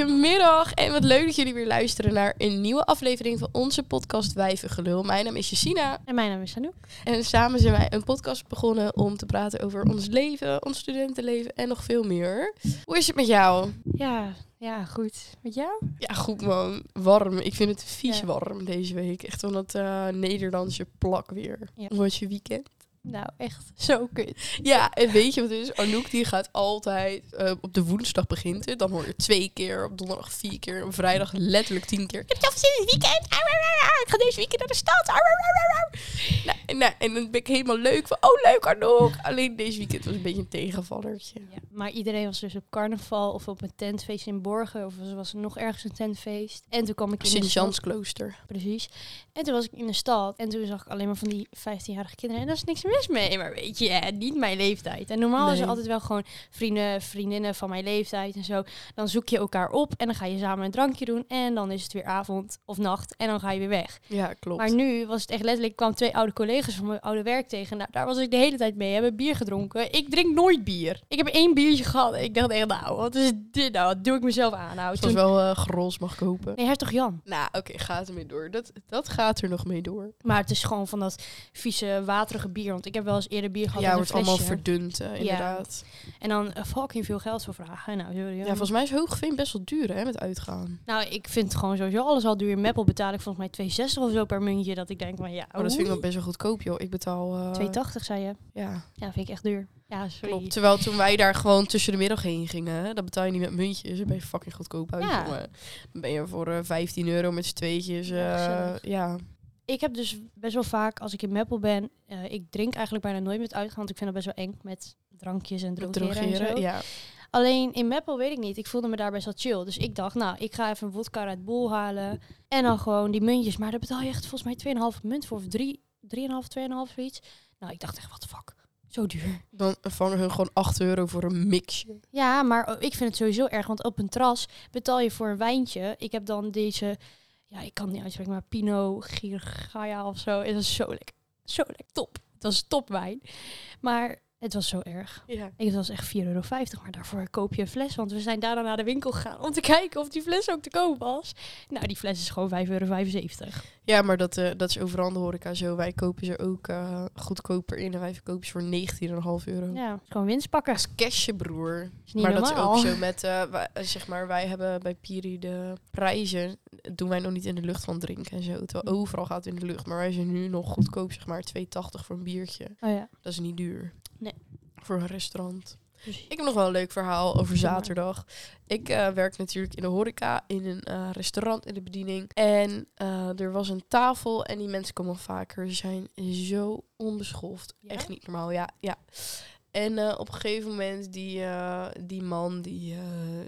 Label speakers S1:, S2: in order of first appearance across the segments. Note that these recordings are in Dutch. S1: Goedemiddag en wat leuk dat jullie weer luisteren naar een nieuwe aflevering van onze podcast Wijvengelul. Mijn naam is Jessina
S2: En mijn naam is Anouk.
S1: en samen zijn wij een podcast begonnen om te praten over ons leven, ons studentenleven en nog veel meer. Hoe is het met jou?
S2: Ja, ja, goed. Met jou?
S1: Ja, goed man. Warm. Ik vind het vies
S2: Ja.
S1: warm deze week. Echt van dat eh, Nederlandse plak weer.
S2: Ja.
S1: Hoe was je weekend?
S2: Nou, echt zo kut.
S1: Ja, en weet je wat het is? Anouk die gaat altijd, eh, op de woensdag begint het. Dan hoor je twee keer, op donderdag vier keer, op vrijdag letterlijk tien keer.
S2: heb zoveel zin in het weekend. Au, au, au, au. Ik ga deze weekend naar de stad. Au, au, au, au, au.
S1: Nou, en, nou, en dan ben ik helemaal leuk van, oh leuk Anouk. Alleen deze weekend was een beetje een tegenvallertje.
S2: Ja, maar iedereen was dus op carnaval of op een tentfeest in Borgen. Of er was nog ergens een tentfeest. En toen kwam ik in de
S1: sint
S2: stad.
S1: Jansklooster.
S2: Precies. En toen was ik in de stad. En toen zag ik alleen maar van die 15-jarige kinderen. En daar is niks mis mee. Maar weet je, eh, niet mijn leeftijd. En normaal is
S1: Nee.
S2: er altijd wel gewoon vrienden, vriendinnen van mijn leeftijd en zo. Dan zoek je elkaar op en dan ga je samen een drankje doen. En dan is het weer avond of nacht. En dan ga je weer weg.
S1: Ja, klopt.
S2: Maar nu was het echt letterlijk, ik kwam twee oude collega's van mijn oude werk tegen. Nou, daar was ik de hele tijd mee. Hebben bier gedronken. Ik drink nooit bier. Ik heb één biertje gehad. En ik dacht echt, nou, wat is dit nou? Wat doe ik mezelf aan? Nou,
S1: het
S2: toen...
S1: was wel eh grols mag kopen.
S2: Nee, hertog Jan.
S1: Nou, oké, gaat ermee door. Dat, dat gaat er nog mee door.
S2: Maar het is gewoon van dat vieze, waterige bier. Want ik heb wel eens eerder bier gehad
S1: ja,
S2: met
S1: het
S2: een
S1: wordt
S2: flesje.
S1: allemaal verdund, eh, inderdaad.
S2: En dan eh, fucking veel geld voor vragen. Nou, sorry,
S1: Ja,
S2: hoor.
S1: volgens mij is hoogveen best wel duur, hè, met uitgaan.
S2: nou, ik vind gewoon sowieso alles al duur. In Meppel betaal ik volgens mij 2,60 of zo per muntje. Dat ik denk van ja,
S1: Maar Oh, dat vind ik
S2: oei.
S1: nog best wel goedkoop, joh. Ik betaal... eh,
S2: 2,80 zei je.
S1: Ja,
S2: Ja, vind ik echt duur. Ja, sorry.
S1: klopt. Terwijl toen wij daar gewoon tussen de middag heen gingen, hè, dat betaal je niet met muntjes. Dan ben je fucking goedkoop uit,
S2: Ja.
S1: jongen. Dan ben je voor eh, 15 euro met z'n tweetjes. eh,
S2: Ja, gezellig.
S1: ja,
S2: Ik heb dus best wel vaak, als ik in Meppel ben, eh, ik drink eigenlijk bijna nooit met uitgaan. Want ik vind dat best wel eng met drankjes en drogeren, en zo.
S1: ja.
S2: Alleen in Meppel weet ik niet. Ik voelde me daar best wel chill. Dus ik dacht, nou, ik ga even een vodka uit Bol halen. En dan gewoon die muntjes. Maar daar betaal je echt volgens mij 2,5 munt voor. Of 3, 3,5, 2,5 zoiets. Nou, ik dacht echt, wat de fuck. Zo duur.
S1: Dan vangen hun gewoon 8 euro voor een mixje.
S2: Ja, maar eh, ik vind het sowieso erg. Want op een terras betaal je voor een wijntje. Ik heb dan deze, ja, ik kan het niet uitspreken, maar Pinot Girgaia of zo. En dat is zo lekker. Zo lekker. Top. Het was topwijn. Maar het was zo erg.
S1: Ja.
S2: Ik was echt 4,50 euro, maar daarvoor koop je een fles. Want we zijn daarna naar de winkel gegaan om te kijken of die fles ook te koop was. Nou, die fles is gewoon 5,75 euro.
S1: Ja, maar dat, eh, dat is overal in de horeca zo. Wij kopen ze ook eh, goedkoper in en wij verkopen ze voor 19,5 euro.
S2: Ja, is gewoon winst pakken.
S1: Als cashje, broer.
S2: Is niet
S1: Oh. maar
S2: normaal.
S1: dat is ook zo met, eh, wij- eh, zeg maar, wij hebben bij Piri de prijzen, dat doen wij nog niet in de lucht van drinken en zo.
S2: Mm.
S1: Terwijl overal gaat het in de lucht, maar wij zijn nu nog goedkoop, zeg maar, 2,80 voor een biertje.
S2: Oh ja,
S1: Dat is niet duur.
S2: Nee.
S1: Voor een restaurant.
S2: precies.
S1: Ik heb nog wel een leuk verhaal over
S2: Doe maar.
S1: zaterdag. Ik eh, werk natuurlijk in de horeca, in een eh, restaurant in de bediening. En eh, er was een tafel en die mensen komen vaker. Ze zijn zo onbeschoft.
S2: Ja?
S1: Echt niet normaal, ja. ja. En eh, op een gegeven moment, die, eh, die man, die, eh,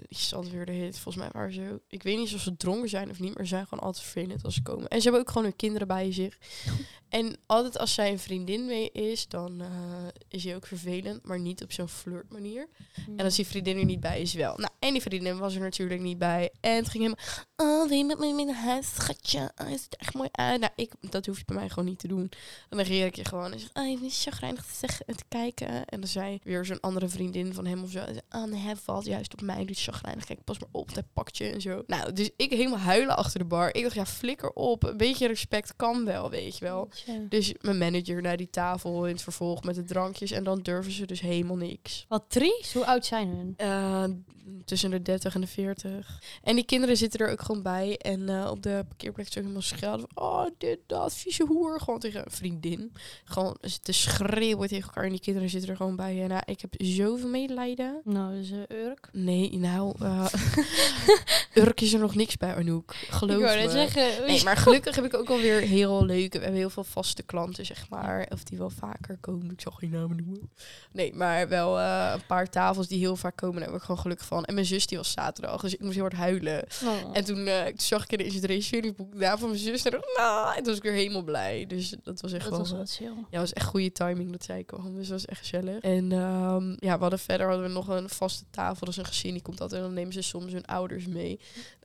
S1: die zat weer de hit. Volgens mij waren ze... Ik weet niet of ze dronken zijn of niet, maar ze zijn gewoon altijd vervelend als ze komen. En ze hebben ook gewoon hun kinderen bij zich. En altijd als zij een vriendin mee is, dan eh, is hij ook vervelend. Maar niet op zo'n flirtmanier. En als die vriendin er niet bij is, wel. Nou, en die vriendin was er natuurlijk niet bij. En het ging helemaal... Oh, wil je met me mee naar huis, schatje? Oh, het ziet er echt mooi uit. Nou, ik, dat hoef je bij mij gewoon niet te doen. Dan negeer ik je gewoon. En zeg, oh, je bent zo grijnig te, zeggen, te kijken. En dan zei weer zo'n andere vriendin van hem of zo. En zei, oh, nee, hij valt juist op mij. Doet zo grijnig. Kijk, pas maar op, want hij pakt je en zo. Nou, dus ik helemaal huilen achter de bar. Ik dacht, ja, flikker op. Een beetje respect kan wel, weet je wel. Dus mijn manager naar die tafel in het vervolg met de drankjes. En dan durven ze dus helemaal niks.
S2: Wat triest. Hoe oud zijn hun?
S1: Eh, tussen de 30 en de 40. En die kinderen zitten er ook gewoon bij. En eh, op de parkeerplek zo helemaal schelden. van, Oh, dit, dat, vieze hoer. Gewoon tegen een vriendin. Gewoon te schreeuwen tegen elkaar. En die kinderen zitten er gewoon bij. En nou, ik heb zoveel medelijden.
S2: Nou, dus eh Urk.
S1: Nee, nou, eh, Urk is er nog niks bij, Anouk. Geloof
S2: ik wou net
S1: me.
S2: zeggen.
S1: Nee, maar gelukkig heb ik ook alweer heel leuke. We hebben heel veel vaste klanten, zeg maar. Of die wel vaker komen. Ik zal geen namen noemen. Nee, maar wel eh, een paar tafels die heel vaak komen. Daar heb ik gewoon gelukkig van. En mijn zus die was zaterdag, dus ik moest heel hard huilen.
S2: Oh.
S1: En toen eh, zag ik ineens het reserveringsboek daar van mijn zus. En, dacht ik, "Nou," en toen was ik weer helemaal blij. Dus dat was echt
S2: dat
S1: wel...
S2: was wel chill.
S1: ja, was echt goede timing dat zij kwam. Dus dat was echt gezellig. En En ehm, ja, we hadden verder hadden we nog een vaste tafel. Dus een gezin die komt altijd. En dan nemen ze soms hun ouders mee.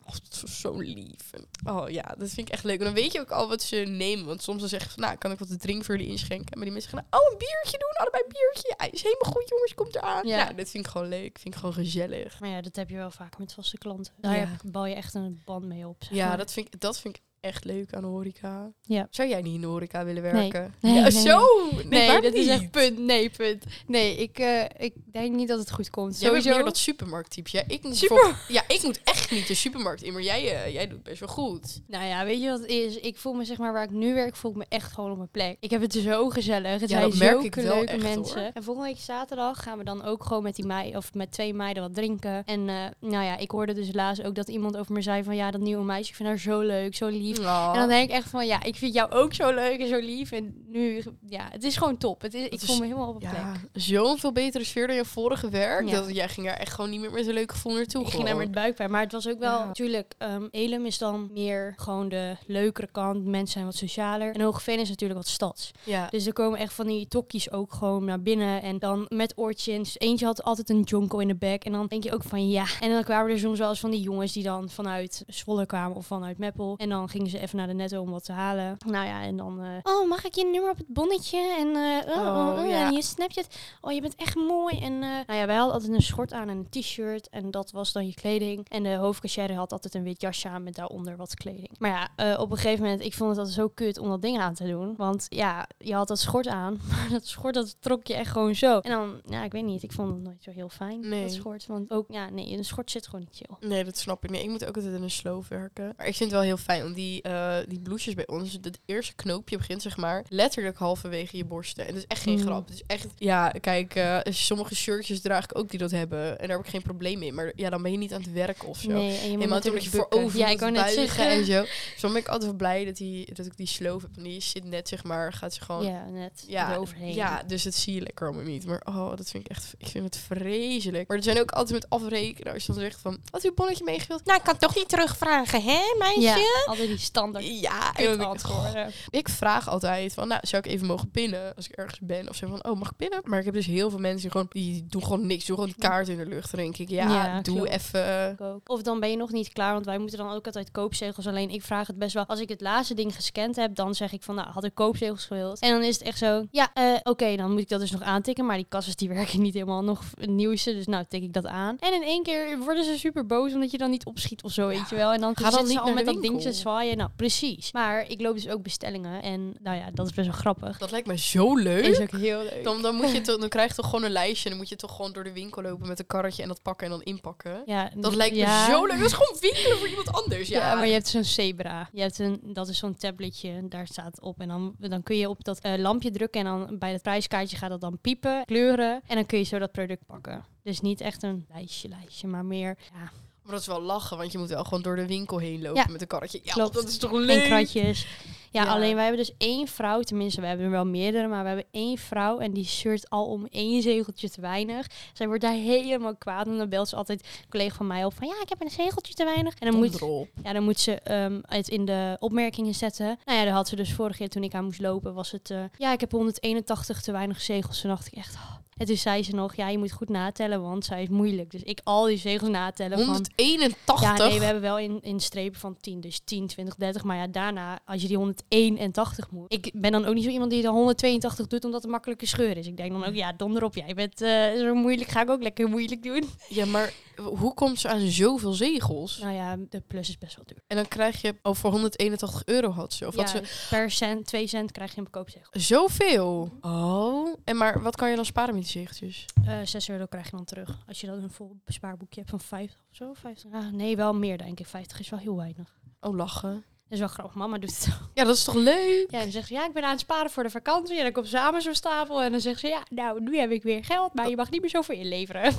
S1: Oh, dat is zo lief. En, oh ja, dat vind ik echt leuk. En dan weet je ook al wat ze nemen. Want soms dan zeggen ze, nou, kan ik wat te drinken voor jullie inschenken? Maar die mensen gaan, oh, een biertje doen. Allebei een biertje. Ja, is helemaal goed, jongens. Komt eraan.
S2: Ja.
S1: Ja, nou, dat vind ik gewoon leuk. Vind ik gewoon gezellig.
S2: Maar ja, dat heb je wel vaak met vaste klanten. Daar
S1: Ja.
S2: heb- bouw je echt een band mee op. zeg
S1: Ja,
S2: maar.
S1: dat vind, ik, dat vind ik echt leuk aan de horeca.
S2: Ja.
S1: Zou jij niet in de horeca willen
S2: Nee.
S1: werken?
S2: Nee,
S1: ja,
S2: nee,
S1: zo! Nee,
S2: Nee,
S1: waarom
S2: dat is
S1: niet?
S2: echt punt. Nee, punt. Nee, ik, eh, ik denk niet dat het goed komt.
S1: Jij bent
S2: Sowieso.
S1: meer dat supermarkttype. Ja, ik moet
S2: Super-
S1: bijvoorbeeld- ja, ik moet echt niet de supermarkt in, maar jij, eh, jij doet best wel goed.
S2: Nou ja, weet je wat het is? Ik voel me, zeg maar, waar ik nu werk, voel ik me echt gewoon op mijn plek. Ik heb het zo gezellig. Het
S1: Ja,
S2: zijn
S1: dat merk
S2: zulke
S1: ik wel
S2: leuke
S1: echt,
S2: mensen.
S1: hoor.
S2: En volgende week zaterdag gaan we dan ook gewoon met die mei of met twee meiden wat drinken. En eh, nou ja, ik hoorde dus laatst ook dat iemand over me zei van ja, dat nieuwe meisje, ik vind haar zo leuk, zo lief. En dan denk ik echt van ja, ik vind jou ook zo leuk en zo lief. En nu, ja, het is gewoon top. Het is, ik
S1: is-
S2: voel me helemaal op mijn
S1: ja,
S2: plek.
S1: zo'n veel betere sfeer dan je vorige werk.
S2: Ja.
S1: Dat jij ging daar echt gewoon niet meer met een leuk gevoel naartoe.
S2: Ik ging daar
S1: gewoon.
S2: met buikpijn, maar het was ook wel...
S1: Ja.
S2: Natuurlijk, ehm, Elem is dan meer gewoon de leukere kant. Mensen zijn wat socialer. En Hoogeveen is natuurlijk wat stads.
S1: Ja.
S2: Dus er komen echt van die tokkies ook gewoon naar binnen. En dan met oortjes. Eentje had altijd een jonko in de bek. En dan denk je ook van ja. En dan kwamen er soms wel eens van die jongens die dan vanuit Zwolle kwamen of vanuit Meppel. En dan gingen ze even naar de netto om wat te halen. Nou ja, en dan... eh, oh, mag ik je nummer op het bonnetje? En eh, oh, oh, oh,
S1: ja.
S2: en je Snapchat. Oh, je bent echt mooi. En eh, nou ja, wij hadden altijd een schort aan en een t-shirt. En dat was dan je kleding. En de hoofdcachère had altijd een wit jasje aan met daaronder wat kleding. Maar ja, eh, op een gegeven moment, ik vond het altijd zo kut om dat ding aan te doen. Want ja, je had dat schort aan. Maar dat schort, dat trok je echt gewoon zo. En dan, ja, ik weet niet. Ik vond het nooit zo heel fijn,
S1: Nee.
S2: dat schort. Want ook, ja, nee, een schort zit gewoon niet chill.
S1: Nee, dat snap ik. Nee, ik moet ook altijd in een sloof werken. Maar ik vind het wel heel fijn, want die, eh, die blouses bij ons, het eerste knoopje begint zeg maar letterlijk halverwege je borsten. En dat is echt geen
S2: Mm.
S1: grap. Het is echt, ja, kijk, eh, sommige shirtjes draag ik ook die dat hebben. En daar heb ik geen probleem mee. Maar ja, dan ben je niet aan het werk of zo.
S2: Nee, en je moet
S1: Helemaal toen
S2: natuurlijk
S1: je
S2: bukken.
S1: voorover
S2: Ja,
S1: moet
S2: ik wou net
S1: buigen
S2: zeggen.
S1: en zo. Dus dan ben ik altijd wel blij dat, die, dat ik die sloof heb. En die zit net, zeg maar, gaat ze gewoon...
S2: Ja, net.
S1: Ja,
S2: eroverheen.
S1: ja, dus dat zie je lekker allemaal niet. Maar oh, dat vind ik echt, ik vind het vreselijk. Maar er zijn ook altijd met afrekenen als je dan zegt van, had u een bonnetje meegewild? Nou, ik kan het toch niet terugvragen, hè
S2: Ja,
S1: meisje?
S2: altijd die standaard
S1: Ja, en dan
S2: kut
S1: denk ik, goh,
S2: antwoorden.
S1: ik vraag altijd van, nou, zou ik even mogen pinnen als ik ergens ben? Of zo van, oh, mag ik pinnen? Maar ik heb dus heel veel mensen die gewoon, die doen gewoon niks. Doen gewoon die kaart in de lucht. Dan denk ik, ja,
S2: Ja,
S1: doe
S2: klopt.
S1: even.
S2: ook. Of dan ben je nog niet klaar, want wij moeten dan ook altijd koopzegels. Alleen ik vraag het best wel. Als ik het laatste ding gescand heb, dan zeg ik van, nou, had ik koopzegels gewild. En dan is het echt zo, ja, eh, oké, dan moet ik dat dus nog aantikken. Maar die kassas die werken niet helemaal nog het nieuwste, dus nou tik ik dat aan. En in één keer worden ze super boos omdat je dan niet opschiet of zo, weet je wel. En dan
S1: Ga dan
S2: zitten ze
S1: niet
S2: al
S1: naar de
S2: met dat
S1: winkel.
S2: ding te zwaaien. Nou, precies. Maar ik loop dus ook bestellingen en nou ja, dat is best wel grappig.
S1: Dat lijkt me zo leuk.
S2: Is ook heel leuk.
S1: Dan, dan, moet je toch, dan krijg je toch gewoon een lijstje. En dan moet je toch gewoon door de winkel lopen met een karretje en dat pakken en dan inpakken.
S2: ja,
S1: Dat lijkt me
S2: ja.
S1: zo leuk. Dat is gewoon winkelen voor iemand anders. Ja,
S2: Ja, maar je hebt zo'n zebra. Je hebt een, dat is zo'n tabletje, en daar staat op. En dan, dan kun je op dat eh, lampje drukken en dan bij het prijskaartje gaat dat dan piepen, kleuren. En dan kun je zo dat product pakken. Dus niet echt een lijstje, lijstje, maar meer ja,
S1: Maar dat is wel lachen, want je moet wel gewoon door de winkel heen lopen
S2: Ja.
S1: met een karretje. Ja,
S2: Klopt.
S1: dat is toch
S2: en
S1: leuk.
S2: kratjes. Ja,
S1: Ja.
S2: alleen wij hebben dus één vrouw, tenminste, we hebben er wel meerdere, maar we hebben één vrouw en die shirt al om één zegeltje te weinig. Zij wordt daar helemaal kwaad en dan belt ze altijd een collega van mij op van ja, ik heb een zegeltje te weinig. En dan moet,
S1: erop.
S2: Ja, dan moet ze ehm, het in de opmerkingen zetten. Nou ja, daar had ze dus vorige keer toen ik aan moest lopen, was het... eh, ja, ik heb 181 te weinig zegels. Toen dacht ik echt... oh. En toen zei ze nog, ja, je moet goed natellen, want zij is moeilijk. Dus ik al die zegels natellen van...
S1: 181.
S2: Ja, nee, we hebben wel in, in strepen van 10, dus 10, 20, 30. Maar ja, daarna, als je die 181 moet... Ik ben dan ook niet zo iemand die de 182 doet, omdat het een makkelijke scheur is. Ik denk dan ook, ja, donder op, jij bent eh, zo moeilijk, ga ik ook lekker moeilijk doen.
S1: Ja, maar hoe komt ze aan zoveel zegels?
S2: Nou ja, de plus is best wel duur.
S1: En dan krijg je, oh, voor 181 euro had ze. Of had
S2: ja,
S1: ze
S2: per cent, 2 cent krijg je een koopzegel.
S1: zoveel? Oh. En maar wat kan je dan sparen met die zegeltjes?
S2: eh 6 euro krijg je dan terug. Als je dan een vol bespaarboekje hebt van 50 of zo. 50. Ah, nee, wel meer denk ik. 50 is wel heel weinig.
S1: Oh, lachen.
S2: Dat is wel grappig. Mama doet het ook.
S1: Ja, dat is toch leuk?
S2: Ja, en dan zegt ze, ja, ik ben aan het sparen voor de vakantie. En dan komt samen zo'n stapel. En dan zegt ze, ja, nou, nu heb ik weer geld. Maar je mag niet meer zoveel inleveren.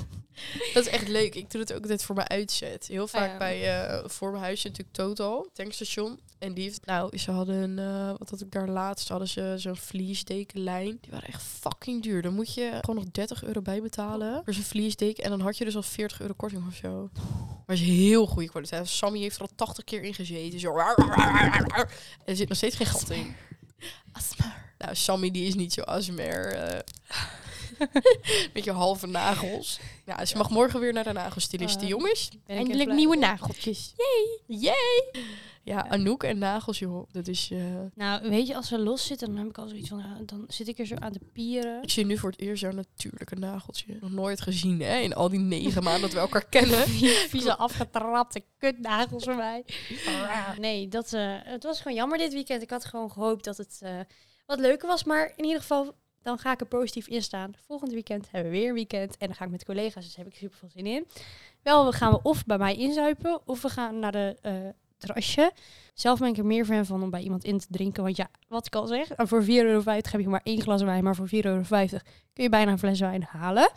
S1: Dat is echt leuk. Ik doe het ook altijd voor mijn uitzet. Heel vaak
S2: ja.
S1: bij eh, voor mijn huis zit natuurlijk Total, tankstation. En die heeft, nou, ze hadden, eh, wat had ik daar laatst, hadden ze zo'n vliesdekenlijn. Die waren echt fucking duur. Dan moet je gewoon nog 30 euro bijbetalen voor zo'n vliesdeken. En dan had je dus al 40 euro korting of zo. Maar het is heel goede kwaliteit. Sammy heeft er al 80 keer in gezeten. Zo. En er zit nog steeds geen gat in. Nou, Sammy die is niet zo asmer. eh. Beetje halve nagels. Ja, ze mag morgen weer naar de nagelstylist, die
S2: Ah.
S1: jongens.
S2: Ben ik
S1: Eindelijk
S2: echt
S1: nieuwe
S2: blij.
S1: nageltjes. Yay! Yay! Ja, Anouk en nagels, joh. Dat is... eh,
S2: Nou, weet je, als ze los zitten, dan heb ik al zoiets van, ah, dan zit ik er zo aan de pieren.
S1: Ik zie nu voor het eerst zo'n natuurlijke nageltje. Nog nooit gezien, hè? In al die negen maanden dat we elkaar kennen.
S2: Vieze afgetrapte kutnagels voor mij. Nee, dat, eh, het was gewoon jammer dit weekend. Ik had gewoon gehoopt dat het eh, wat leuker was. Maar in ieder geval, dan ga ik er positief in staan. Volgend weekend hebben we weer een weekend. En dan ga ik met collega's, dus daar heb ik super veel zin in. Wel, we gaan we of bij mij inzuipen, of we gaan naar de eh, terrasje. Zelf ben ik er meer fan van om bij iemand in te drinken. Want ja, wat ik al zeg, eh, voor 4,50 euro heb je maar één glas wijn. Maar voor 4,50 euro kun je bijna een fles wijn halen.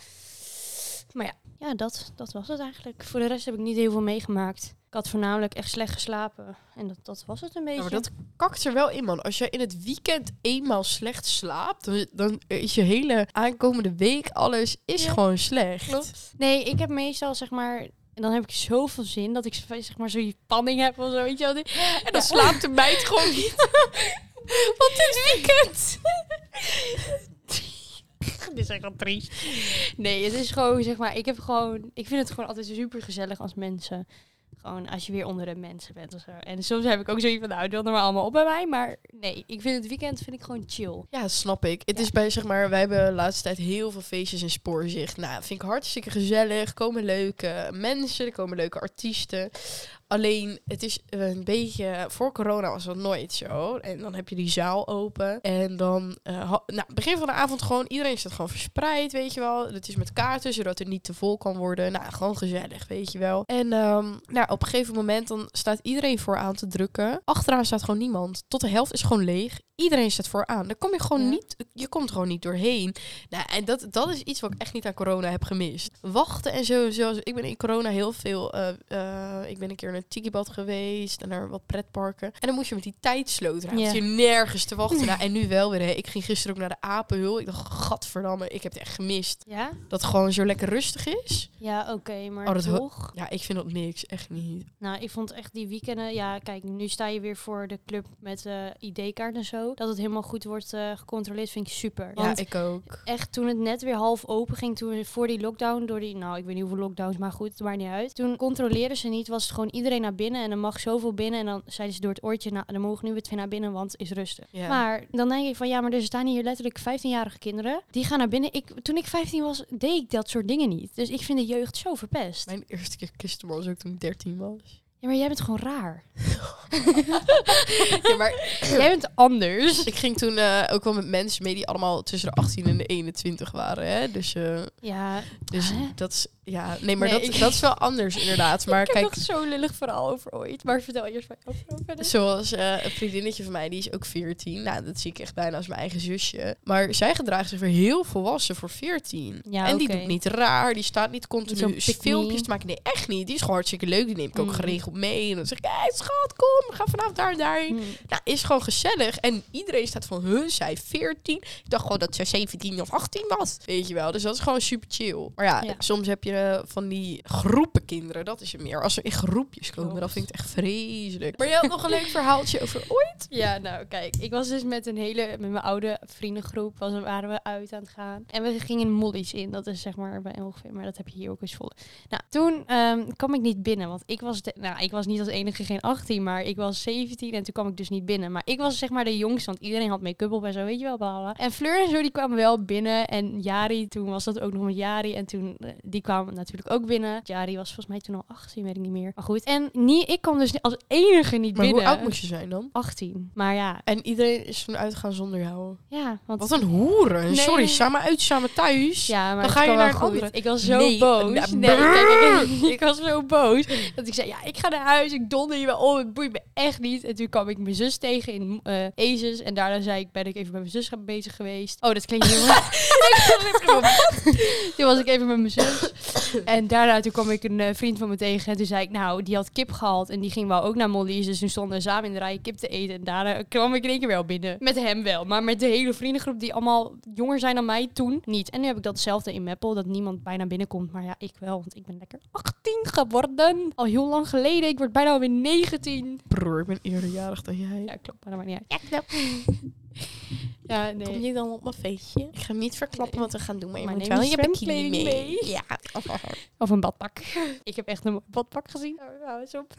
S2: Maar ja, ja dat, dat was het eigenlijk. Voor de rest heb ik niet heel veel meegemaakt. Ik had voornamelijk echt slecht geslapen. En dat, dat was het een beetje.
S1: Ja, maar dat kakt er wel in, man. Als jij in het weekend eenmaal slecht slaapt, dan- dan is je hele aankomende week, alles is
S2: Ja.
S1: gewoon slecht.
S2: Klopt. Nee, ik heb meestal zeg maar. En dan heb ik zoveel zin dat ik zeg maar zo'n panning heb of zo. Weet je wel.
S1: En dan
S2: Ja.
S1: slaapt de meid gewoon niet. Want dit weekend...
S2: Dit is echt wel triest. Nee, het is gewoon zeg maar. Ik heb gewoon. Ik vind het gewoon altijd super gezellig als mensen. Gewoon als je weer onder de mensen bent of zo. En soms heb ik ook zoiets van, nou, het wil er maar allemaal op bij mij. Maar nee, ik vind het weekend vind ik gewoon chill.
S1: Ja, snap ik. Het
S2: Ja.
S1: is bij, zeg maar, wij hebben de laatste tijd heel veel feestjes in Spoorzicht. Nou, vind ik hartstikke gezellig. Komen leuke mensen, er komen leuke artiesten. Alleen, het is een beetje... Voor corona was dat nooit zo. En dan heb je die zaal open. En dan... eh, ha- nou, begin van de avond gewoon... Iedereen staat gewoon verspreid, weet je wel. Het is met kaarten, zodat het niet te vol kan worden. Nou, gewoon gezellig, weet je wel. En ehm, nou, op een gegeven moment dan staat iedereen vooraan te drukken. Achteraan staat gewoon niemand. Tot de helft is gewoon leeg. Iedereen staat vooraan. Dan kom je gewoon
S2: Ja.
S1: niet... Je komt gewoon niet doorheen. Nou, en dat, dat is iets wat ik echt niet aan corona heb gemist. Wachten en zo. Zoals, ik ben in corona heel veel. eh, eh, ik ben een keer naar Tikibad geweest en naar wat pretparken. En dan moest je met die tijdsloot raken.
S2: Ja.
S1: Je nergens te wachten. Nou, en nu wel weer. Hè. Ik ging gisteren ook naar de Apenhul. Ik dacht, gadverdamme, ik heb het echt gemist.
S2: Ja?
S1: Dat het gewoon zo lekker rustig is.
S2: Ja, oké, maar
S1: Oh, dat ho-
S2: toch.
S1: Ja, ik vind dat niks. Echt niet.
S2: Nou, ik vond echt die weekenden... Ja, kijk, nu sta je weer voor de club met eh ID-kaart en zo. Dat het helemaal goed wordt eh, gecontroleerd vind ik super.
S1: Ja,
S2: Want
S1: ik ook.
S2: echt toen het net weer half open ging, toen we voor die lockdown, door die, nou ik weet niet hoeveel lockdowns, maar goed, het maakt niet uit. Toen controleerden ze niet, was het gewoon iedereen naar binnen en dan mag zoveel binnen. En dan zeiden ze door het oortje, nou dan mogen nu weer twee naar binnen, want het is rustig.
S1: Ja.
S2: Maar dan denk ik van ja, maar er staan hier letterlijk 15-jarige kinderen. Die gaan naar binnen. Ik, toen ik 15 was, deed ik dat soort dingen niet. Dus ik vind de jeugd zo verpest.
S1: Mijn eerste keer kisten was ook toen ik 13 was.
S2: Ja, maar jij bent gewoon raar.
S1: Ja, maar
S2: jij bent anders.
S1: Ik ging toen eh, ook wel met mensen mee die allemaal tussen de 18 en de 21 waren. Hè? Dus, eh,
S2: Ja,
S1: dus
S2: Hè?
S1: dat is. Ja, nee, maar
S2: Nee,
S1: dat,
S2: ik-
S1: dat is wel anders inderdaad. Maar
S2: ik heb
S1: kijk,
S2: nog zo'n lullig verhaal over ooit. Maar vertel eerst maar over.
S1: zoals eh, een vriendinnetje van mij, die is ook 14. Nou, dat zie ik echt bijna als mijn eigen zusje. Maar zij gedraagt zich weer heel volwassen voor 14.
S2: Ja,
S1: en die
S2: oké.
S1: doet niet raar, die staat niet
S2: Zo'n
S1: continu
S2: pick me.
S1: filmpjes te maken. Nee, echt niet. Die is gewoon hartstikke leuk. Die neem ik ook
S2: Mm.
S1: geregeld mee. En dan zeg ik, hé schat, kom, we gaan vanavond daar en daarheen. Nou, is gewoon gezellig. En iedereen staat van, huh, zij 14. Ik dacht gewoon dat zij 17 of 18 was. Weet je wel. Dus dat is gewoon super chill. Maar ja,
S2: Ja.
S1: soms heb je eh, van die groepen kinderen. Dat is het meer. Als ze in groepjes komen,
S2: Klopt.
S1: dat vind ik echt vreselijk. Maar jij had nog een leuk verhaaltje over ooit.
S2: Ja, nou kijk, ik was dus met een hele, met mijn oude vriendengroep, was, waren we uit aan het gaan. En we gingen Molly's in, dat is zeg maar bij ongeveer, maar dat heb je hier ook eens vol. Nou, toen ehm, kwam ik niet binnen, want ik was, de, nou ik was niet als enige geen 18, maar ik was 17 en toen kwam ik dus niet binnen. Maar ik was zeg maar de jongste, want iedereen had make-up op en zo, weet je wel, behalen. En Fleur en zo, die kwamen wel binnen en Jari, toen was dat ook nog met Jari en toen, eh, die kwamen natuurlijk ook binnen. Jari was volgens mij toen al 18, weet ik niet meer. Maar goed, en niet, ik kwam dus als enige niet
S1: Maar
S2: binnen.
S1: hoe oud moet je zijn dan?
S2: 18. Maar ja,
S1: En iedereen is toen uitgegaan zonder jou.
S2: ja, want...
S1: Wat een hoeren.
S2: Nee.
S1: Sorry, samen uit, samen thuis.
S2: Ja, maar
S1: Dan
S2: het
S1: ga je
S2: kwam
S1: naar
S2: wel
S1: een
S2: goed.
S1: andere.
S2: Ik was zo
S1: Nee,
S2: boos.
S1: nou,
S2: Nee, kijk, ik, ik was zo boos dat ik zei, ja, ik ga naar huis, ik donder je wel om, het boeit me echt niet. En toen kwam ik mijn zus tegen in eh Aces en daarna zei ik, ben ik even met mijn zus gaan- bezig geweest. Oh, dat klinkt heel toen was ik even met mijn zus. En daarna toen kwam ik een eh, vriend van me tegen. En toen zei ik, nou, die had kip gehaald. En die ging wel ook naar Molly's. Dus toen stonden we samen in de rij kip te eten. En daarna kwam ik in één keer wel binnen. Met hem wel. Maar met de hele vriendengroep die allemaal jonger zijn dan mij toen niet. En nu heb ik datzelfde in Meppel. Dat niemand bijna binnenkomt. Maar ja, ik wel. Want ik ben lekker 18 geworden. Al heel lang geleden. Ik word bijna alweer 19.
S1: Broer, ik ben eerder jarig dan jij.
S2: Ja, klopt. Maar dat maakt niet uit.
S1: Ja, klopt.
S2: Ja, nee.
S1: Kom je dan op mijn feestje? Ik ga hem niet verklappen wat we gaan doen, maar je
S2: Maar
S1: moet
S2: neem
S1: wel
S2: je
S1: je bikini mee.
S2: zwemkleding mee.
S1: Ja.
S2: Of een badpak. ik heb echt een mooi badpak gezien. Oh, hou eens op.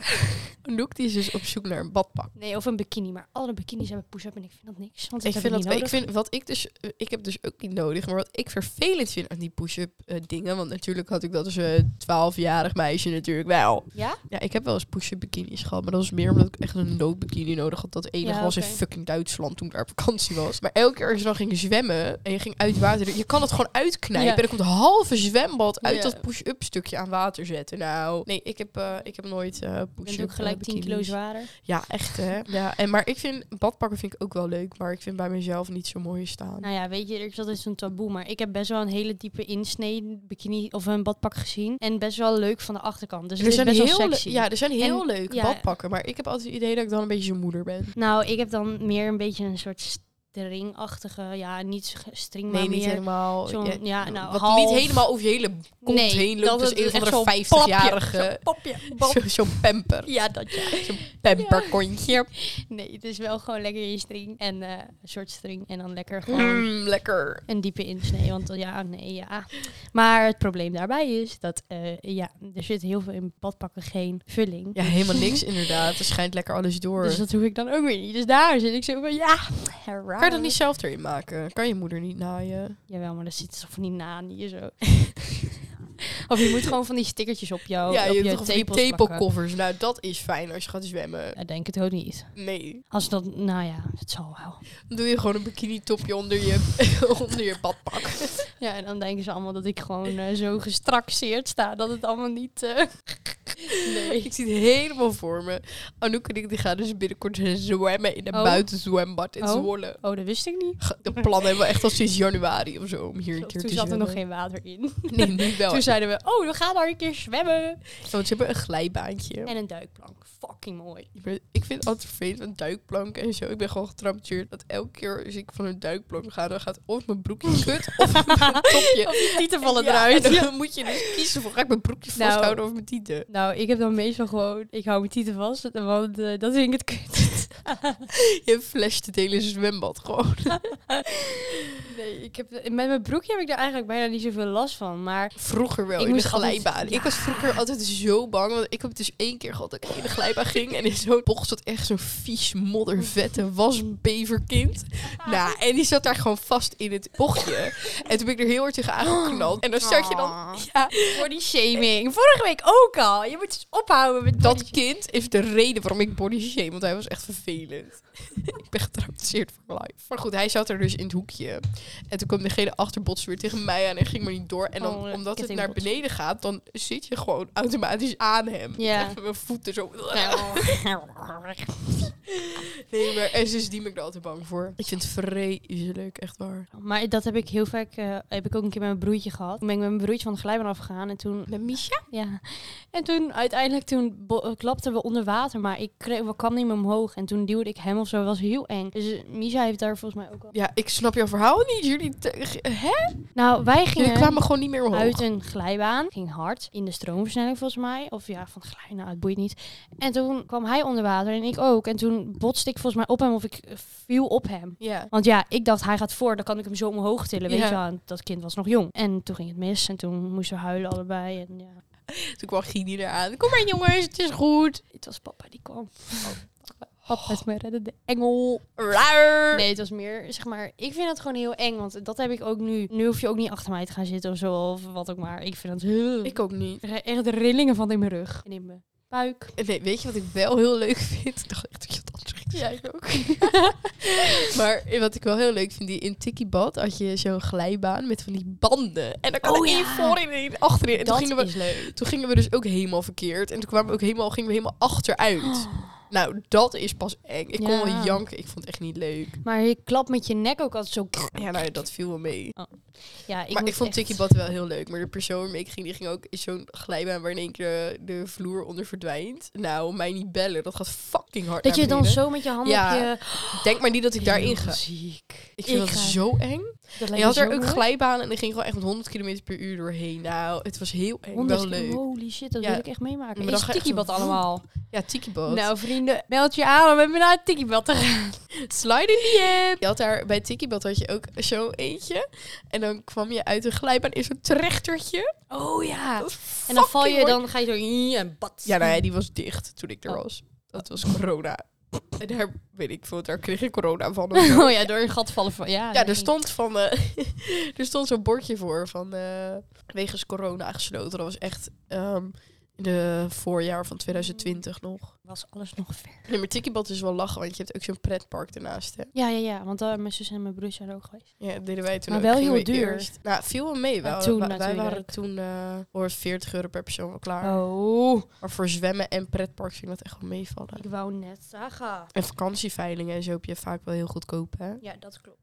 S1: Luke die is dus op zoek naar een badpak.
S2: Nee, of een bikini. Maar alle bikinis hebben push-up en ik vind dat niks. Want
S1: Ik vind
S2: dat
S1: dat, ik
S2: nodig.
S1: vind wat ik dus, ik heb dus ook niet nodig, maar wat ik vervelend vind aan die push-up eh, dingen, want natuurlijk had ik dat als een 12-jarig meisje natuurlijk wel.
S2: Ja?
S1: Ja, ik heb wel eens push-up bikinis gehad, maar dat was meer omdat ik echt een noodbikini nodig had. Dat enige
S2: Ja,
S1: was in
S2: oké.
S1: fucking Duitsland toen ik daar op vakantie was. Maar elke keer als je dan ging zwemmen en je ging uit water, je kan het gewoon uitknijpen.
S2: Ja.
S1: En er komt een halve zwembad uit
S2: Ja.
S1: dat push-up stukje aan water zetten. Nou, nee, ik heb, eh, ik heb nooit eh push-up
S2: Ik ben ook
S1: eh,
S2: gelijk 10 kilo
S1: bikinis. Oh,
S2: zwaarder.
S1: Ja, echt hè. Ja, en, maar ik vind badpakken vind ik ook wel leuk, maar ik vind bij mezelf niet zo mooi staan.
S2: Nou ja, weet je, er is altijd zo'n taboe. Maar ik heb best wel een hele diepe insnee bikini of een badpak gezien. En best wel leuk van de achterkant. Dus
S1: er
S2: het is
S1: zijn
S2: best
S1: heel,
S2: wel
S1: le-
S2: sexy.
S1: ja, er zijn heel
S2: En-
S1: leuk
S2: ja.
S1: badpakken, maar ik heb altijd het idee dat ik dan een beetje zijn moeder ben.
S2: Nou, ik heb dan meer een beetje een soort stringachtige... Ja, niet s- string, maar
S1: Nee, niet
S2: meer...
S1: helemaal.
S2: zo'n- ja, nou,
S1: wat
S2: half.
S1: niet helemaal over je hele kont
S2: Nee,
S1: heen loopt
S2: dat
S1: als
S2: het
S1: een
S2: echt
S1: van de
S2: zo'n papje,
S1: 50-jarige.
S2: Popje,
S1: Zo- Zo'n pamper.
S2: Ja, dat ja.
S1: Pamperkontje.
S2: Nee, het is wel gewoon lekker je string en eh, een soort string. En dan lekker gewoon...
S1: Mm, lekker.
S2: Een diepe insnee, want ja, nee, ja. Maar het probleem daarbij is dat eh, ja, er zit heel veel in badpakken geen vulling.
S1: Ja, helemaal niks inderdaad. Het schijnt lekker alles door.
S2: Dus dat hoef ik dan ook weer niet. Dus daar zit ik zo van, ja, raar.
S1: kan je dat niet zelf erin maken? Kan je moeder niet naaien?
S2: Jawel, maar dat zit zo van die nanieën zo. of je moet gewoon van die stickertjes op jou,
S1: ja,
S2: Oh, op
S1: je hebt toch van die
S2: tepels plakken.
S1: tepelkoffers. Nou, dat is fijn als je gaat zwemmen.
S2: Ja, denk het ook niet.
S1: Nee.
S2: Als dat, nou ja, het zal wel.
S1: Dan doe je gewoon een bikini topje onder je, onder je badpak.
S2: Ja, en dan denken ze allemaal dat ik gewoon eh, zo gestraxeerd sta, dat het allemaal niet... eh,
S1: Ik zie het helemaal voor me. Anouk en ik die gaan dus binnenkort zwemmen in een
S2: Oh.
S1: buitenzwembad in
S2: Oh.
S1: Zwolle.
S2: Oh, dat wist ik niet.
S1: Ge- De plannen hebben we echt al sinds januari of zo om hier een keer
S2: Toen
S1: te
S2: zat er
S1: zwemmen.
S2: nog geen water in.
S1: Nee, nu wel.
S2: Toen zeiden we, oh, we gaan daar een keer zwemmen.
S1: Want ze hebben een glijbaantje.
S2: En een duikplank. Fucking mooi.
S1: Ik ben- Ik vind het altijd vervelend van duikplanken en zo. Ik ben gewoon getrampeerd dat elke keer als ik van een duikplank ga, dan gaat of mijn broekje kut of mijn topje.
S2: je tieten vallen
S1: Ja,
S2: eruit.
S1: en dan moet je dus kiezen voor ga ik mijn broekje
S2: Nou.
S1: vasthouden of mijn tieten.
S2: Nou, ik heb dan meestal gewoon, ik hou mijn tieten vast, want eh, dat vind ik het kut.
S1: Je flasht het hele zwembad gewoon.
S2: nee, ik heb, met mijn broekje heb ik daar eigenlijk bijna niet zoveel last van. Maar
S1: Vroeger wel,
S2: Ik
S1: in de
S2: moest altijd-
S1: glijbaan. Ik was vroeger altijd zo bang. Want ik heb het dus één keer gehad dat ik in de glijbaan ging. En in zo'n bocht zat echt zo'n vies, moddervette wasbeverkind. Nou, en die zat daar gewoon vast in het bochtje. En toen ben ik er heel hard tegen aangeknald. En dan start je dan...
S2: Oh.
S1: Ja,
S2: voor die shaming. Vorige week ook al. Je moet dus ophouden met body
S1: dat
S2: shaming.
S1: kind is de reden waarom ik body shame. Want hij was echt vervelend. ik ben getraumatiseerd voor life. Maar goed, hij zat er dus in het hoekje. En toen kwam degene achterbots weer tegen mij aan en ging maar niet door. En dan,
S2: Oh,
S1: omdat het naar
S2: kettingbots.
S1: beneden gaat, dan zit je gewoon automatisch aan hem.
S2: Ja.
S1: Echt met mijn voeten zo. Nou.
S2: Ja.
S1: Nee, maar en sindsdien ben ik er altijd bang voor. Ik vind het vreselijk, echt waar.
S2: Maar dat heb ik heel vaak, eh, heb ik ook een keer met mijn broertje gehad. Toen ben ik met mijn broertje van de glijbaan afgegaan en toen
S1: Met Misha?
S2: Ja, en toen uiteindelijk toen bo- eh, klapten we onder water, maar ik kreeg, we kwam niet meer omhoog. En toen duwde ik hem of zo, dat was heel eng. Dus eh, Misha heeft daar volgens mij ook al...
S1: Ja, ik snap jouw verhaal niet. Jullie, te- ge- hè?
S2: Nou, wij
S1: Jullie
S2: gingen
S1: kwamen gewoon niet meer omhoog.
S2: uit een glijbaan, ging hard, in de stroomversnelling volgens mij. Of ja, van glij, nou het boeit niet. En toen kwam hij onder water en ik ook. En toen botste ik volgens mij op hem of ik eh, viel op hem.
S1: Ja.
S2: Want ja, ik dacht, hij gaat voor, dan kan ik hem zo omhoog tillen, weet
S1: Ja.
S2: je wel. En dat kind was nog jong. En toen ging het mis en toen moesten we huilen allebei. En ja,
S1: Toen kwam Gini eraan. Kom maar jongens, het is goed.
S2: Het was papa die kwam. Oh. Papa is mijn reddende engel.
S1: Raar.
S2: Nee, het was meer, zeg maar, ik vind dat gewoon heel eng. Want dat heb ik ook nu. Nu hoef je ook niet achter mij te gaan zitten of zo, of wat ook maar. Ik vind dat...
S1: Ik ook niet.
S2: krijg echt de rillingen van in mijn rug. En in mijn buik.
S1: Nee, weet je wat ik wel heel leuk vind? Ik dacht echt dat je het anders ging
S2: Ja, ik ook.
S1: zeggen. Maar wat ik wel heel leuk vind, die in Tikibad had je zo'n glijbaan met van die banden. En dan kan
S2: Oh
S1: er één
S2: ja.
S1: voorin en één achterin. En toen
S2: dat
S1: gingen, we,
S2: is leuk.
S1: toen gingen we dus ook helemaal verkeerd. En toen kwamen we ook helemaal, gingen we helemaal achteruit.
S2: Oh.
S1: Nou, dat is pas eng. Ik kon
S2: Ja.
S1: wel janken. Ik vond het echt niet leuk.
S2: Maar je klapt met je nek ook altijd zo...
S1: Ja, nou, dat viel wel mee.
S2: Ja, ik
S1: maar
S2: moet
S1: ik vond
S2: echt-
S1: Tikibad wel heel leuk. Maar de persoon waarmee ik ging, die ging ook in zo'n glijbaan waar in één keer eh, de vloer onder verdwijnt. Nou, mij niet bellen. Dat gaat fucking hard
S2: Dat
S1: naar
S2: je dan
S1: beneden.
S2: zo met je handen
S1: Ja,
S2: op je...
S1: Denk maar niet dat ik daarin ga.
S2: Ziek.
S1: Ik vind dat
S2: ga-
S1: zo eng.
S2: dat
S1: En
S2: lijkt
S1: je
S2: me
S1: had
S2: zo
S1: er ook
S2: mooi.
S1: glijbanen en er ging gewoon echt met 100 km per uur doorheen. Nou, het was heel eng.
S2: 100
S1: Wel leuk.
S2: Holy shit, dat
S1: Ja.
S2: wil ik echt meemaken.
S1: Maar
S2: Is
S1: dan ga je echt
S2: Tikibad
S1: zo-
S2: allemaal?
S1: Ja, Tiki Boat.
S2: Nou, vrienden, meld je aan nou om met me naar het tikkiebad te gaan.
S1: slide in die app. Je had daar bij Tiki Boat had je ook zo eentje. En dan kwam je uit een glijbaan in zo'n trechtertje.
S2: Oh ja.
S1: Dat is
S2: En dan val je,
S1: fucking mooi.
S2: dan ga je zo in en bats.
S1: Ja, nee, die was dicht toen ik er
S2: Oh.
S1: was. Dat was corona. En daar weet ik veel, daar kreeg ik corona van. of zo.
S2: Oh ja, door een gat vallen van... Ja,
S1: Ja,
S2: Ah, nee.
S1: er stond, van, eh, er stond zo'n bordje voor van eh, wegens corona gesloten. Dat was echt ehm, in de voorjaar van 2020 nog.
S2: Was alles nog ver.
S1: Nee, maar Tikkiebad is wel lachen, want je hebt ook zo'n pretpark ernaast. Hè?
S2: Ja, ja, ja. Want eh, mijn zus en mijn broer zijn er ook geweest.
S1: Ja, dat deden wij toen
S2: Maar
S1: ook.
S2: wel
S1: Gingen
S2: heel
S1: we
S2: duur.
S1: eerst- Nou, viel wel mee. wel.
S2: toen
S1: wij, wij waren
S2: natuurlijk.
S1: toen eh, voor 40 euro per persoon wel klaar.
S2: Oh.
S1: Maar voor zwemmen en pretpark ging dat echt wel meevallen.
S2: Ik wou net zeggen.
S1: En vakantieveilingen en zo heb je vaak wel heel goedkoop, hè?
S2: Ja, dat klopt.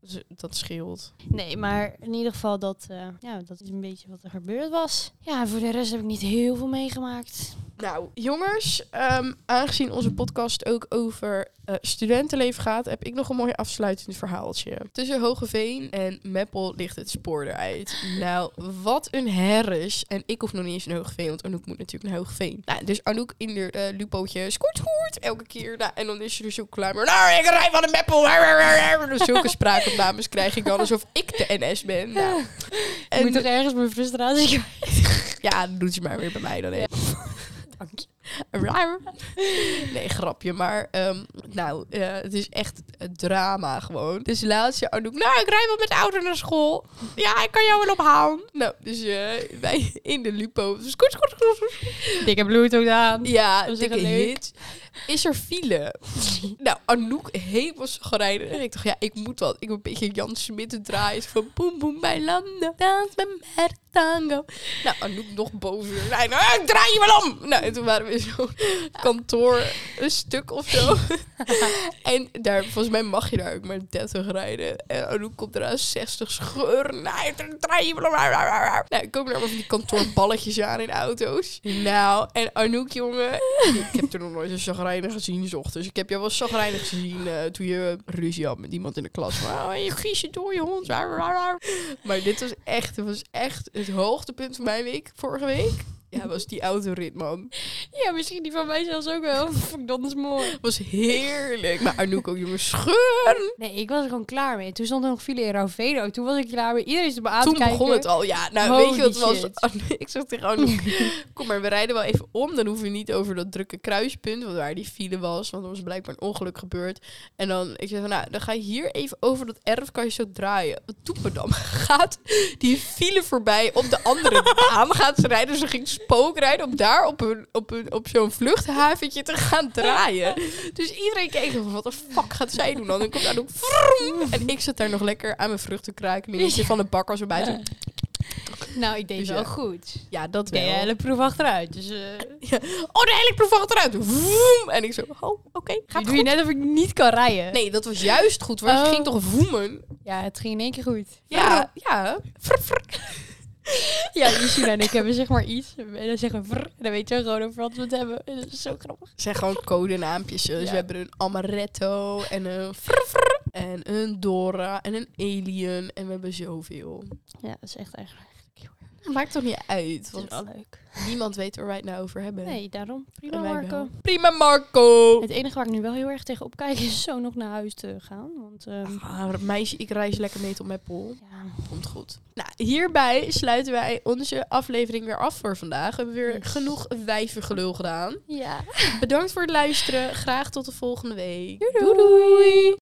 S1: Dus dat scheelt.
S2: Nee, maar in ieder geval dat, eh, ja, dat is een beetje wat er gebeurd was. Ja, en voor de rest heb ik niet heel veel meegemaakt.
S1: Nou, jongens, ehm, aangezien onze podcast ook over eh, studentenleven gaat, heb ik nog een mooi afsluitend verhaaltje. Tussen Hogeveen en Meppel ligt het spoor eruit. Nou, wat een herres. En ik hoef nog niet eens naar Hogeveen, want Anouk moet natuurlijk naar Hogeveen. Nou, dus Anouk in de eh, lupootje, scoort, scoort, elke keer. Nou, en dan is ze er zo klaar mee. Nou, ik rij van de Meppel. Rar, rar, rar, rar. Dus Zulke spraakopnames krijg ik dan, alsof ik de NS ben. Nou,
S2: Ik
S1: en,
S2: moet toch ergens mijn frustratie kwijt.
S1: ja, dat doet ze maar weer bij mij dan even.
S2: Dank je.
S1: Raar. Nee, grapje. Maar ehm, nou, eh, het is echt het drama gewoon. Dus laatst zei Anouk, nou, ik rij wel met de auto naar school. Ja, ik kan jou wel ophalen. Nou, dus eh, wij in de Lupo. Dus koets, koets, koets, koets.
S2: Dikke bloed ook aan.
S1: Ja,
S2: Dat was
S1: dikke
S2: echt leuk.
S1: hit. Is er file? nou, Anouk helemaal gereden. En ik dacht, ja, ik moet wat. Ik moet een beetje Jan Smit draaien. Zo Van boem, boem, bij landen. Dans met mijn tango. Nou, Anouk nog boven. Nee, nou, ik draai je wel om. Nou, en toen waren we in zo'n kantoor, een stuk of zo. en daar, volgens mij mag je daar ook maar 30 rijden. En Anouk komt eraan 60 scheur. Nee, dan draai je wel om. Nou, ik kom daar van die kantoorballetjes aan in auto's. Nou, en Anouk, jongen. Ik heb toen nog nooit een chagrijnig gezien, 's ochtends. Ik heb jou wel chagrijnig gezien eh, toen je ruzie had met iemand in de klas. Maar, "Oh, je gies je door, je hond. Maar dit was echt, het was echt het hoogtepunt van mijn week, vorige week. Ja, was die autorit, man.
S2: Ja, misschien die van mij zelfs ook wel. Vond ik dat is mooi.
S1: was heerlijk. Maar Anouk ook, jongen, scheur.
S2: Nee, ik was er gewoon klaar mee. Toen stond er nog file in Ravelo. Toen was ik klaar mee. Iedereen is me aan
S1: Toen
S2: te kijken.
S1: begon het al. Ja, nou, weet je
S2: Holy
S1: wat het was?
S2: shit.
S1: Anouk- Ik zeg tegen Anouk, kom maar, we rijden wel even om. Dan hoeven we niet over dat drukke kruispunt, want waar die file was. Want er was blijkbaar een ongeluk gebeurd. En dan, ik zeg van, nou, dan ga je hier even over dat erf, kan je zo draaien. Toen me dan gaat die file voorbij op de andere baan gaat ze rijden. Ze ging spookrijden om daar op, een, op, een, op zo'n vluchthaventje te gaan draaien. Dus iedereen keek van, wat de fuck gaat zij doen dan? En komt daar ook vroom. En ik zat daar nog lekker aan mijn vruchten kraken. Een beetje van de bak als we buiten.
S2: Nou, ik deed
S1: Dus
S2: wel
S1: ja.
S2: goed. Ik
S1: Ja, dat
S2: deed
S1: wel.
S2: een hele proef achteruit. Dus eh
S1: Oh, de helikproef achteruit. Vroom. En ik zo, oh, oké.
S2: nu
S1: Gaat
S2: doe je
S1: goed.
S2: net of ik niet kan rijden.
S1: Nee, dat was juist goed. Want ze
S2: Oh.
S1: ging toch voemen?
S2: Ja, het ging in één keer goed.
S1: Ja, ja. Vr, vr.
S2: Ja, Lucina en ik hebben zeg maar iets. En dan zeggen we vrr. En dan weet je gewoon over wat we het hebben. En dat is zo grappig.
S1: Het zijn gewoon codenaampjes. Dus
S2: Ja.
S1: we hebben een amaretto en een frr, frr, en een Dora en een alien. En we hebben zoveel.
S2: Ja, dat is echt eigenlijk
S1: Maakt toch niet uit,
S2: dat is
S1: want
S2: wel leuk.
S1: niemand weet waar wij het nou over hebben.
S2: Nee, daarom. Prima,
S1: En wij wel.
S2: Marco.
S1: Prima Marco!
S2: Het enige waar ik nu wel heel erg tegen opkijk is zo nog naar huis te gaan. Want ehm,
S1: Ah, meisje, ik reis lekker mee tot Meppel.
S2: ja,
S1: Komt goed. Nou, hierbij sluiten wij onze aflevering weer af voor vandaag. We hebben weer
S2: Yes.
S1: genoeg wijvengelul gedaan.
S2: ja.
S1: Bedankt voor het luisteren. Graag tot de volgende week.
S2: doei. doei.